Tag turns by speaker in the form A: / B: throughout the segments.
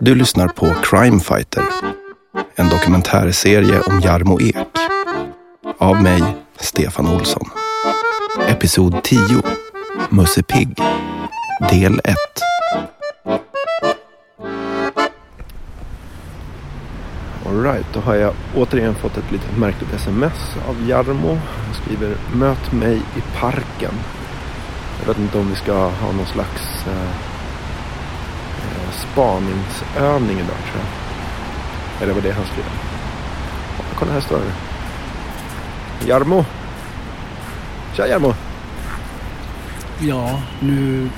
A: Du lyssnar på Crime Fighter, en dokumentärserie om Jarmo Ek. Av mig, Stefan Olsson. Episod 10, Musse Pigg, del 1. Alright, då har jag återigen fått ett lite märkligt sms av Jarmo. Han skriver Möt mig i parken. Jag vet inte om vi ska ha någon slags eh, eh, spaningsövning idag tror jag. Eller var det han skrev? Ja, kolla här står det. Jarmo. Tja Jarmo.
B: Ja, nu,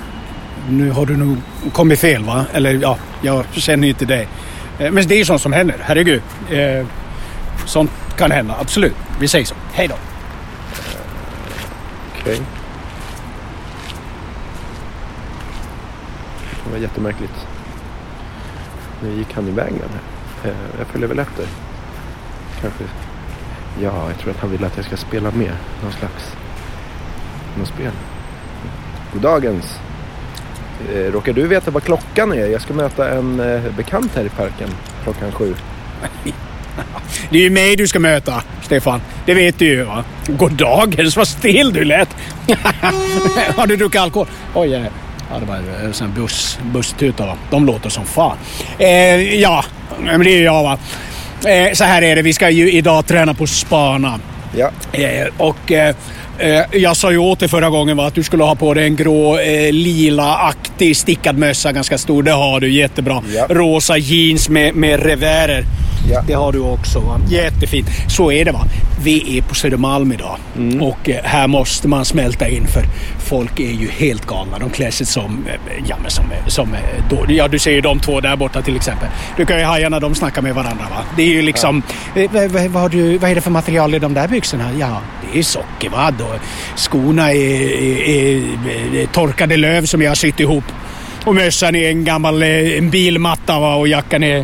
B: nu har du nog kommit fel va? Eller ja, jag känner ju inte dig. Eh, Men det är ju sånt som händer, herregud. Eh, Sånt kan hända, absolut. Vi säger så. Hej då.
A: Okej. Det var jättemärkligt. Nu gick han iväg med det. Eh, Jag följer väl efter. Kanske. Ja, jag tror att han vill att jag ska spela med. Någon slags. Något spel. Goddagens. Eh, Råkar du veta vad klockan är? Jag ska möta en eh, bekant här i parken klockan sju.
B: Det är ju mig du ska möta, Stefan. Det vet du ju va? God dagens, vad stel du lät. har du druckit alkohol? Oj, eh, ja, det var eh, sån här buss, busstuta va? De låter som fan. Eh, ja, men det är ju jag va. Eh, så här är det, vi ska ju idag träna på spana.
A: Ja,
B: Eh, och eh, eh, jag sa ju åt dig förra gången va, att du skulle ha på dig en grå eh, lila-aktig stickad mössa, ganska stor. Det har du, jättebra.
A: Ja.
B: Rosa jeans med, med revärer.
A: Ja.
B: Det har du också. Va? Jättefint. Så är det va. Vi är på Södermalm idag och eh, här måste man smälta in för folk är ju helt galna. De klär sig som, eh, ja men som, eh, som eh, då, ja du ser ju de två där borta till exempel. Du kan ju haja när de snackar med varandra va. Det är ju liksom, eh, vad, vad, vad, har du, vad är det för material i de där byxorna? Ja, det är sockervadd och skorna är, är, är, är torkade löv som jag har sytt ihop. Och mössan är en gammal eh, en bilmatta va? och jackan är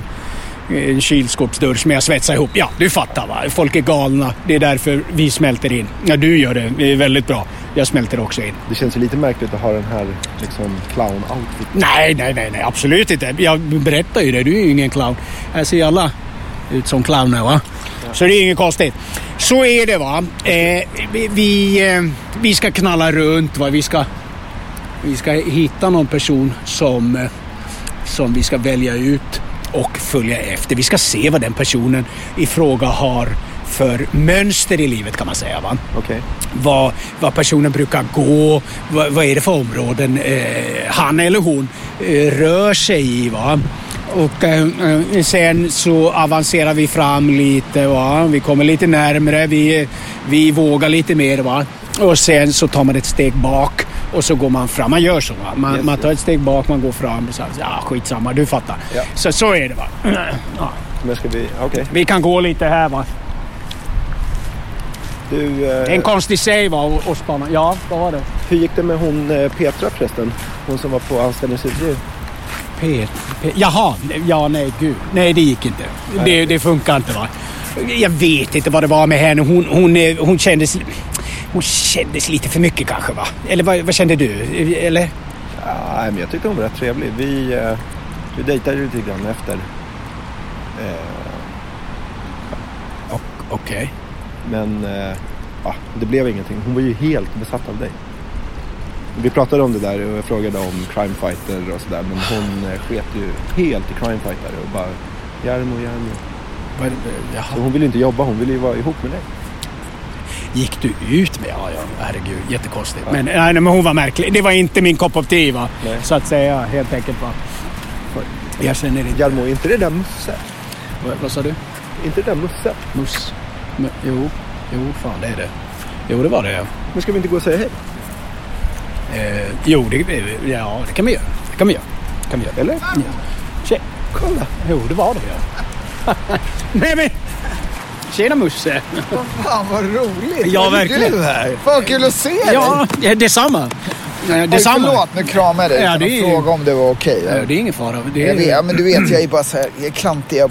B: en eh, kylskåpsdörr som jag svetsar ihop. Ja, du fattar va. Folk är galna. Det är därför vi smälter in. Ja, du gör det. det är väldigt bra. Jag smälter också in.
A: det känns ju lite märkligt att ha den här liksom clown-outfiten.
B: Nej, nej, nej, nej. Absolut inte. Jag berättar ju det. Du är ju ingen clown. Här ser ju alla ut som clowner va. Så det är inget konstigt. Så är det va. Eh, vi, vi, eh, vi ska knalla runt va. Vi ska, vi ska hitta någon person som eh, som vi ska välja ut och följa efter. Vi ska se vad den personen i fråga har för mönster i livet kan man säga. Va?
A: Okej.
B: Vad, vad personen brukar gå, vad, vad är det för områden eh, han eller hon eh, rör sig i. Va? Och eh, eh, sen så avancerar vi fram lite, va? vi kommer lite närmre, vi, vi vågar lite mer. Va? Och sen så tar man ett steg bak och så går man fram. Man gör så. Va? Man,
A: Yes,
B: man
A: yes.
B: tar ett steg bak, man går fram och så här, ja skitsamma, du fattar.
A: Ja.
B: Så, så är det va. Ja.
A: Men ska vi... Okej.
B: Vi kan gå lite här va.
A: Du... eh,
B: Det är en konstig säg va, och, och spana. Ja, vad var det?
A: Hur gick det med hon eh, Petra förresten? Hon som var på anställningsintervju.
B: P, P, jaha, ja nej gud. Nej det gick inte. Det, det funkar inte va. Jag vet inte vad det var med henne. Hon, hon, eh, hon kändes... Hon kändes lite för mycket kanske va? Eller vad, vad kände du? Eller?
A: Ah, nej, men jag tyckte hon var rätt trevlig. Vi, eh, vi dejtade ju lite grann efter. Eh,
B: Okej.
A: men eh, ja, det blev ingenting. Hon var ju helt besatt av dig. Vi pratade om det där och jag frågade om crime fighter och sådär. Men hon eh, sket ju helt i crime fighter och bara Jarmo, Jarmo.
B: Vad-
A: Så
B: Jaha.
A: Hon ville ju inte jobba, hon ville ju vara ihop med dig.
B: Gick du ut med... Ja, ja herregud. Jättekonstigt. Men, nej, nej, men hon var märklig. Det var inte min kopp of te va.
A: Nej.
B: Så att säga helt enkelt va. Jag känner inte...
A: Jarmo, är inte det där Musse?
B: Vad, vad sa du?
A: Är inte det där Musse?
B: Muss. Men, jo, jo, fan det är det. Jo, det var det.
A: Men ska vi inte gå och säga hej?
B: Eh, jo, det, ja, det kan vi göra. Det kan vi göra. Det kan vi göra.
A: Eller?
B: Tje,
A: Kolla!
B: jo, det var det ja. Nej men! Tjena Musse!
C: Fan vad roligt!
B: Ja,
C: Vad är
B: verkligen.
C: du här? Fan kul att se dig!
B: Ja, eh, detsamma. Eh,
C: Oj,
B: Detsamma.
C: Förlåt, nu kramar jag dig
B: Ja,
C: utan
B: det är
C: att
B: ju-
C: fråga om det var okej.
B: Eh, Det är ingen fara. Det
C: Jag vet,
B: är...
C: ja, men du vet, jag är bara så här, jag är klantig. Jag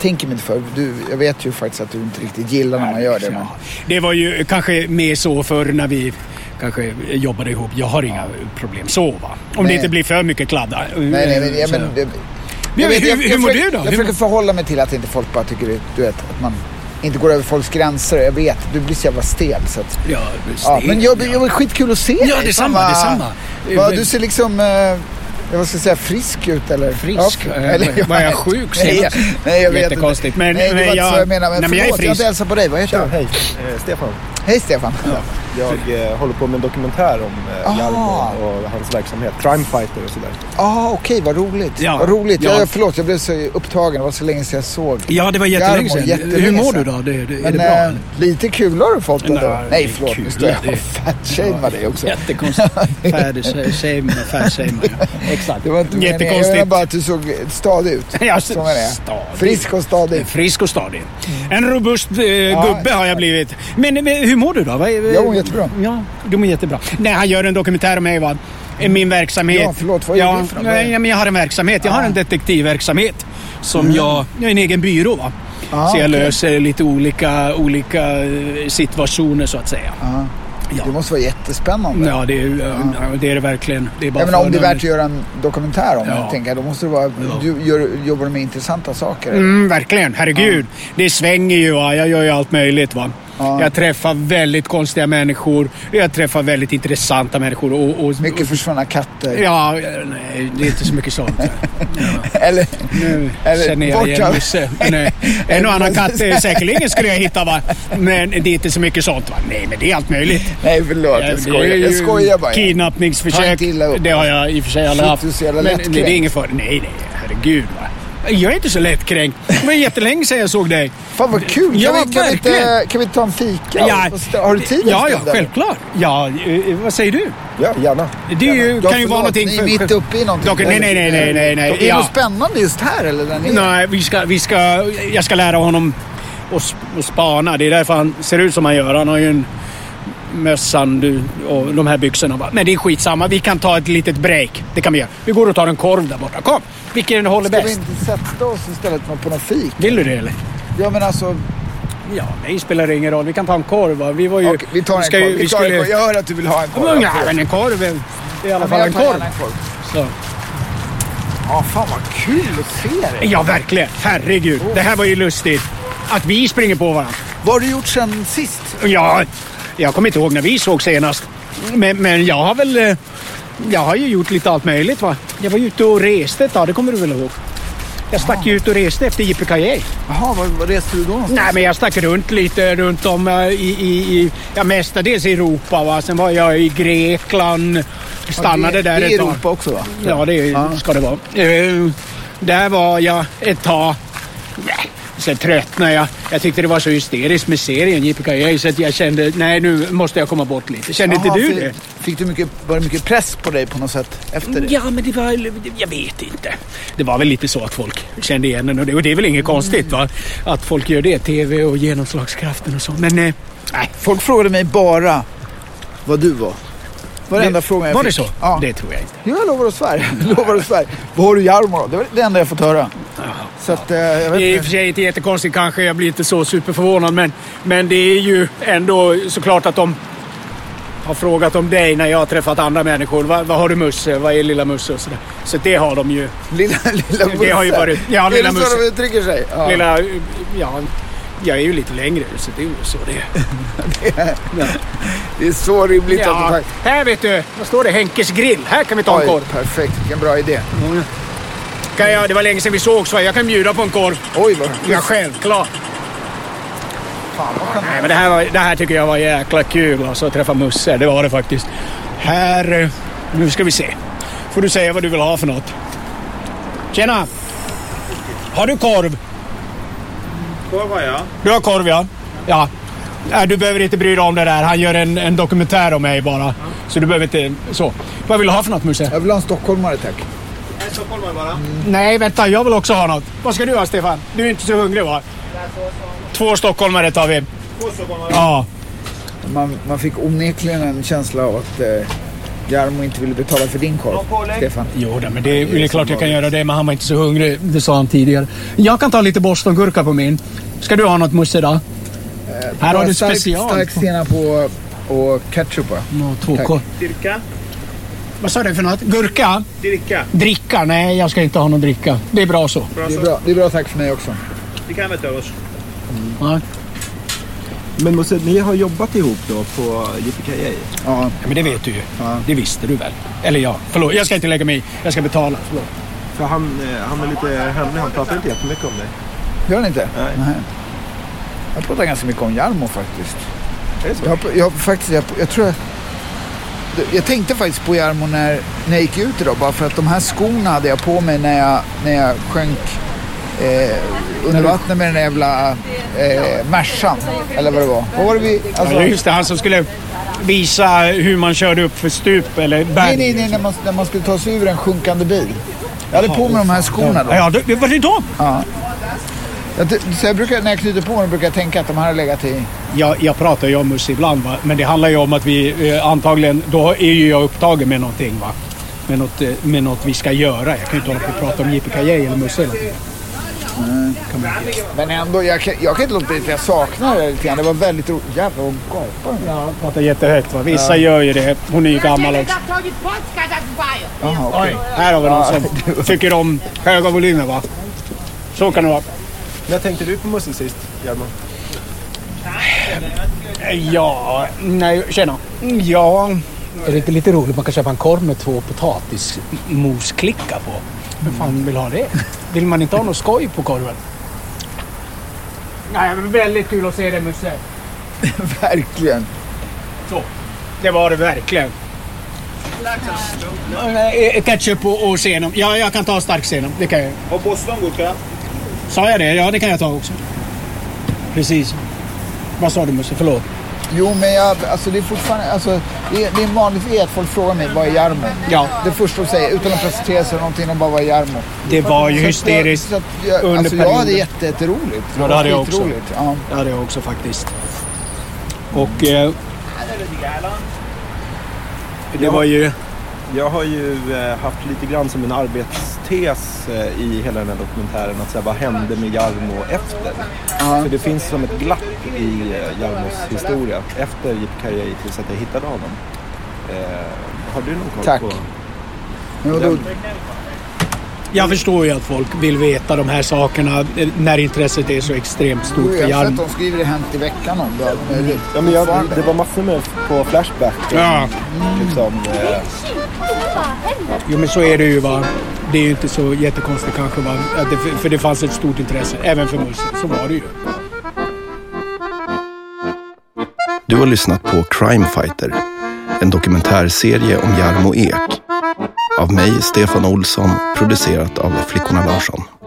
C: tänker mig inte för. Du, jag vet ju faktiskt att du inte riktigt gillar när man gör det. Men...
B: Ja, det var ju kanske mer så förr när vi kanske jobbade ihop. Jag har inga problem så va. Om det
C: Nej.
B: inte blir för mycket kladda.
C: Nej, nej, men, ja,
B: Så-
C: men det,
B: Men
C: vet,
B: hur, hur mår du
C: försöker-
B: då?
C: Jag
B: Hur-
C: försöker förhålla mig till att inte folk bara tycker det- du vet, att man inte går över folks gränser. Jag vet, du blir så jävla stel. Så att,
B: Ja,
C: ja,
B: det-
C: men jag, jag var skitkul att se
B: Ja,
C: dig.
B: detsamma,
C: Fan, vad-
B: detsamma.
C: Vad, du ser liksom, eh, vad ska jag säga, frisk ut eller?
B: Frisk?
C: Ja,
B: Eh, var jag sjuk
C: Nej,
B: senast?
C: nej, jag vet
B: Jättekonstigt,
C: inte.
B: men-
C: nej, det var
B: men
C: inte
B: jag-
C: så jag menar. Men
B: Nej, men jag är
C: förlåt, jag har inte
B: frisk.
C: hälsat på dig. Vad heter
A: Tja,
C: du?
A: hej. Eh, Stefan.
C: Hej Stefan.
A: Jag eh, håller på med en dokumentär om eh,
C: Ah.
A: Jarmo och hans verksamhet. Crime Fighter och sådär.
C: Ah, okej, vad roligt.
B: Ja,
C: vad roligt.
B: ja.
C: Ja. förlåt, jag blev så upptagen. Det var så länge sedan jag såg.
B: Ja, det var jättelänge
C: Jarmo,
B: sedan.
C: jättelänge
B: Hur mår du
C: sedan.
B: då? Det, det, är
C: Men
B: det bra?
C: eh, lite kul har du fått ändå.
B: Nej,
C: Nej,
B: det är
C: förlåt.
B: kul.
C: Nu står jag
B: Det-
C: och fatshamear dig också.
B: Jättekonstigt. Färdshame, färdshame. Exakt.
C: Det var inte meningen. Jag menar
B: Jättekonstigt.
C: bara att du såg stadig ut.
B: Ja,
C: Som är det.
B: stadig.
C: Frisk och stadig. Mm.
B: Frisk och stadig. En robust eh, gubbe har jag blivit. Men, men hur mår du då? Vad är-
C: Jag mår jättebra.
B: Ja, du mår jättebra. Nej, han gör en dokumentär om mig va? Eh, Min verksamhet.
C: Ja, förlåt, vad gör du för något?
B: nej, men Jag har en verksamhet. Jag har en detektivverksamhet. Som
C: Mm.
B: jag... Jag har en egen byrå va?
C: Ah,
B: så jag
C: okej.
B: löser lite olika, olika eh, situationer så att säga.
C: Ja.
B: Ja.
C: Det måste vara jättespännande.
B: Ja, det är, ja. det, är det verkligen. Det är bara
C: Jag menar, om det är värt
B: förnöjligt.
C: att göra en dokumentär om
B: Ja.
C: det, tänker jag, då måste det vara... Du, gör, jobbar du med intressanta saker? eller?
B: Mm, verkligen, herregud. Det svänger ju. Va? Jag gör ju allt möjligt. Va?
C: Ja.
B: Jag träffar väldigt konstiga människor. Jag träffar väldigt intressanta människor. Och, och,
C: Mycket försvunna katter.
B: Ja, nej, det är inte så mycket sånt.
C: Eller?
B: Nu
C: Eller
B: känner jag
C: bort
B: igen
C: av-
B: Musse. Nej. En och annan katt eh, säkerligen skulle jag hitta va. Men det är inte så mycket sånt va. Nej, men det är allt möjligt.
C: Nej, förlåt.
B: Ja,
C: Jag
B: det
C: skojar,
B: är
C: jag
B: ju
C: skojar bara. Ta
B: Kidnappningsförsök.
C: inte illa upp.
B: Det har jag i och för sig aldrig
C: Shit,
B: haft.
C: du är så jävla
B: Men det, det är
C: lättkränkt.
B: ingen fara. Nej, nej. Herregud va. Jag är inte så lättkränkt. Det var jättelänge sedan jag såg dig.
C: Fan vad kul! Kan,
B: Ja,
C: vi, kan, vi,
B: verkligen.
C: inte, kan vi ta en fika? Och st- Har du tid en
B: Ja, ja,
C: stund, eller?
B: självklart. Ja, eh, vad säger du?
A: Ja, gärna.
B: Det är ju,
C: Ja,
B: kan ju
C: förlåt,
B: vara någonting...
C: Ni
B: för-
C: är mitt uppe i någonting.
B: Dock- nej, nej, nej, nej, nej, nej.
C: Är det
B: Ja.
C: något spännande just här eller där nere?
B: Nej, vi ska, vi ska... Jag ska lära honom att s- att spana. Det är därför han ser ut som han gör. Han har ju en mössan du, och de här byxorna. va. Men det är skitsamma. Vi kan ta ett litet break. Det kan vi göra. Vi går och tar en korv där borta. Kom! Vilken håller
C: Ska vi
B: bäst?
C: inte sätta oss istället på någon fik?
B: Vill du det eller?
C: Ja men alltså,
B: Ja, nej, spelar det ingen roll. Vi kan ta en korv. va. Vi var ju...
C: okej, vi tar en
B: ska ju-
C: korv. Vi
B: vi
C: tar en
B: skulle-
C: korv. Jag hör att du vill ha en korv.
B: Ja, men en korv är det är i alla fall en korv. Så.
C: Ja, fan vad kul att se dig.
B: Ja, verkligen. Herregud. Det här var ju lustigt. Att vi springer på varandra.
C: Vad har du gjort sen sist?
B: Ja, jag kommer inte ihåg när vi såg senast. Men, men jag har väl... eh, Jag har ju gjort lite allt möjligt va. Jag var ju ute och reste ett tag, det kommer du väl ihåg? Jag stack ju ut och reste efter Yippie
C: Jaha, var, var reste du då någonstans?
B: Nej, men jag stack runt lite runt om eh, i, i, i ja, mestadels i Europa. Va? Sen var jag i Grekland. Stannade
C: det,
B: där
C: det
B: ett
C: är
B: tag.
C: Europa också va?
B: Ja, det
C: Ja.
B: ska det vara. Eh, där var jag ett tag. Nej, Sen tröttnade jag. Jag tyckte det var så hysteriskt med serien Yippee så att jag kände nej nu måste jag komma bort lite. Kände
C: Jaha,
B: inte du
C: fick-
B: det?
C: Fick du mycket, var det mycket press på dig på något sätt efter det?
B: Ja, men det var... Jag vet inte. Det var väl lite så att folk kände igen den och det, och det är väl inget konstigt va? Att folk gör det. TV och genomslagskraften och så. Men eh, nej.
C: Folk frågade mig bara vad du var. Var den enda frågan jag
B: Var
C: fick.
B: det så?
C: Ja.
B: Det tror jag inte.
C: Jo, jag lovar och svär. Jag lovar och svär. Vad har du Jarmo då? Det var det enda jag fått höra. Så att, eh, jag
B: Det är i och
C: vet
B: för
C: inte.
B: sig inte jättekonstigt kanske, jag blir inte så superförvånad. Men, men det är ju ändå såklart att de har frågat om dig när jag har träffat andra människor. Vad, vad har du Musse? Vad är lilla Musse? Och sådär. Så det har de ju.
C: Lilla, lilla Musse.
B: Det har ju varit- ja,
C: Är
B: Lilla
C: det så
B: Musse.
C: de uttrycker sig? Ja.
B: Lilla, ja, jag är ju lite längre så det är ju så det är.
C: Det är så rimligt att
B: Ja,
C: du
B: här vet du, vad står det? Henkes grill. Här kan vi ta en korv.
C: perfekt. Vilken bra idé.
B: Kan jag, det var länge sedan vi sågs va? Jag kan bjuda på en korv.
C: Oj, vad...
B: Ja, självklart.
C: Fan, vad skönt.
B: Nej, men det, här var, det här tycker jag var jäkla kul alltså, att träffa Musse. Det var det faktiskt. Här... eh, Nu ska vi se. Får du säga vad du vill ha för något. Tjena! Har du korv?
D: Korvar ja.
B: Du har korv ja. Ja. Nej, du behöver inte bry dig om det där. Han gör en, en dokumentär om mig bara. Så du behöver inte... Så. Vad vill du ha för något Musse?
C: Jag vill ha en stockholmare tack.
D: En stockholmare bara.
B: Nej, vänta. Jag vill också ha något. Vad ska du ha Stefan? Du är inte så hungrig va? Två stockholmare tar vi.
D: Två stockholmare.
B: Ja.
C: Man, man fick onekligen en känsla av att eh, Jarmo inte ville betala för din
D: Någon
C: korv,
D: pålägg?
C: Stefan.
B: Jo, nej, men det, det är
C: som
B: klart jag kan
C: vanligt.
B: göra det, men han var inte så hungrig. Det sa han tidigare. Jag kan ta lite bostongurka på min. Ska du ha något Musse då? Här har du
C: stark,
B: special.
C: Stark senap på och ketchup va?
B: Nå, Två
C: Tack.
B: korv.
D: Cirka.
B: Vad sa du för något? Gurka?
D: Dricka.
B: Dricka? Nej, jag ska inte ha någon dricka. Det är bra så.
D: Bra
C: Det är
D: så.
C: bra, det är bra tack för mig också.
D: Vi kan vänta oss.
B: Ja.
A: Men måste, ni har jobbat ihop då på Yippee
C: Ja,
B: Men det vet du ju.
C: Ja.
B: Det visste du väl? Eller ja, förlåt. Jag ska inte lägga mig i. Jag ska betala. Förlåt.
A: För han, eh, han är lite hemlig, han pratar inte jättemycket om dig.
C: gör ni inte?
A: Nej.
C: Jag pratar ganska mycket om Jarmo faktiskt.
A: Är det så?
C: Jag, har- jag, har faktiskt, jag, jag tror jag, jag tänkte faktiskt på Jarmo när, när jag gick ut idag. Bara för att de här skorna hade jag på mig när jag, när jag sjönk eh, under vattnet med den där jävla eh, Mercan. Eller vad det var. Vad var det vi... Alltså,
B: Ja, just det, han som skulle visa hur man körde upp för stup eller berg.
C: nej, nej, nej. När man, när man skulle ta sig ur en sjunkande bil. Jag hade på mig de här skorna då.
B: Ja, ja, det, var det då?
C: Jag, ty- så jag brukar, när jag knyter på mig brukar jag tänka att de här har legat i...
B: Jag, jag pratar ju om Musse ibland, va? men det handlar ju om att vi eh, antagligen, då är ju jag upptagen med någonting. Va? Med, något, eh, med något vi ska göra. Jag kan ju inte hålla på och prata om JPKJ eller Musse hela tiden.
C: Men ändå, jag kan, jag kan inte låta bli att jag saknar det lite grann. Det var väldigt roligt. Jävlar vad gapar den.
B: Ja, pratar jättehögt. Va? Vissa gör ju det. Hon är ju gammal också.
E: Target Polska, das war ja.
C: Jaha, okej.
B: Här har vi någon som tycker om höga volymer. Va? Så kan det vara.
A: När tänkte du på Musse sist, Hjalmar?
B: Eh, Ja, nej, tjena. Ja. Är det inte lite roligt? Man kan köpa en korv med två potatismosklickar på. Vem fan vill ha det? Vill man inte ha något skoj på korven? Nej, men väldigt kul att se dig Musse.
C: Verkligen.
B: Det var det verkligen. Eh, Ketchup och, och senap. Ja, jag kan ta stark senap. Det kan jag.
D: Har Boston gurka?
B: Sa jag det? Ja, det kan jag ta också. Precis. Vad sa du Musse? Förlåt.
C: Jo, men jag, alltså det är fortfarande, alltså, det, är, det är vanligt att folk frågar mig, vad är Jarmo?
B: Ja.
C: Det första de säger, utan att presentera sig eller någonting, de bara, vad är Jarmo?
B: Det var ju
C: Så att jag-
B: hysteriskt
C: så att jag,
B: under
C: Alltså jag
B: perioden.
C: hade jätte- jätteroligt.
B: Ja, det hade jag också.
C: Skitroligt, Ja.
B: Det hade jag också faktiskt. Och... Eh, det var ju...
A: Jag har ju eh, haft lite grann som en arbetstes eh, i hela den här dokumentären att säga vad hände med Jarmo efter? För det finns som ett glapp i eh, Jarmos historia efter Yippee tills att jag hittade honom. Eh, har du någon koll
C: Tack.
A: på?
C: Men vadå,
B: Jag förstår ju att folk vill veta de här sakerna eh, när intresset är så extremt
C: jo,
B: stort för
C: jag har sett
B: Hjalmar.
C: de skriver det hänt i veckan om det. allt möjligt.
A: Ja, men jag,
C: Fortfarande.
A: det var massor med på Flashback.
B: Ja,
A: Liksom, eh,
B: jo, men så är det ju va. Det är ju inte så jättekonstigt kanske va. Att det, för det fanns ett stort intresse, även för Musse. Så var det ju.
F: Du har lyssnat på Crime Fighter, en dokumentärserie om Jarmo Ek. Av mig, Stefan Olsson, producerat av Flickorna Larsson.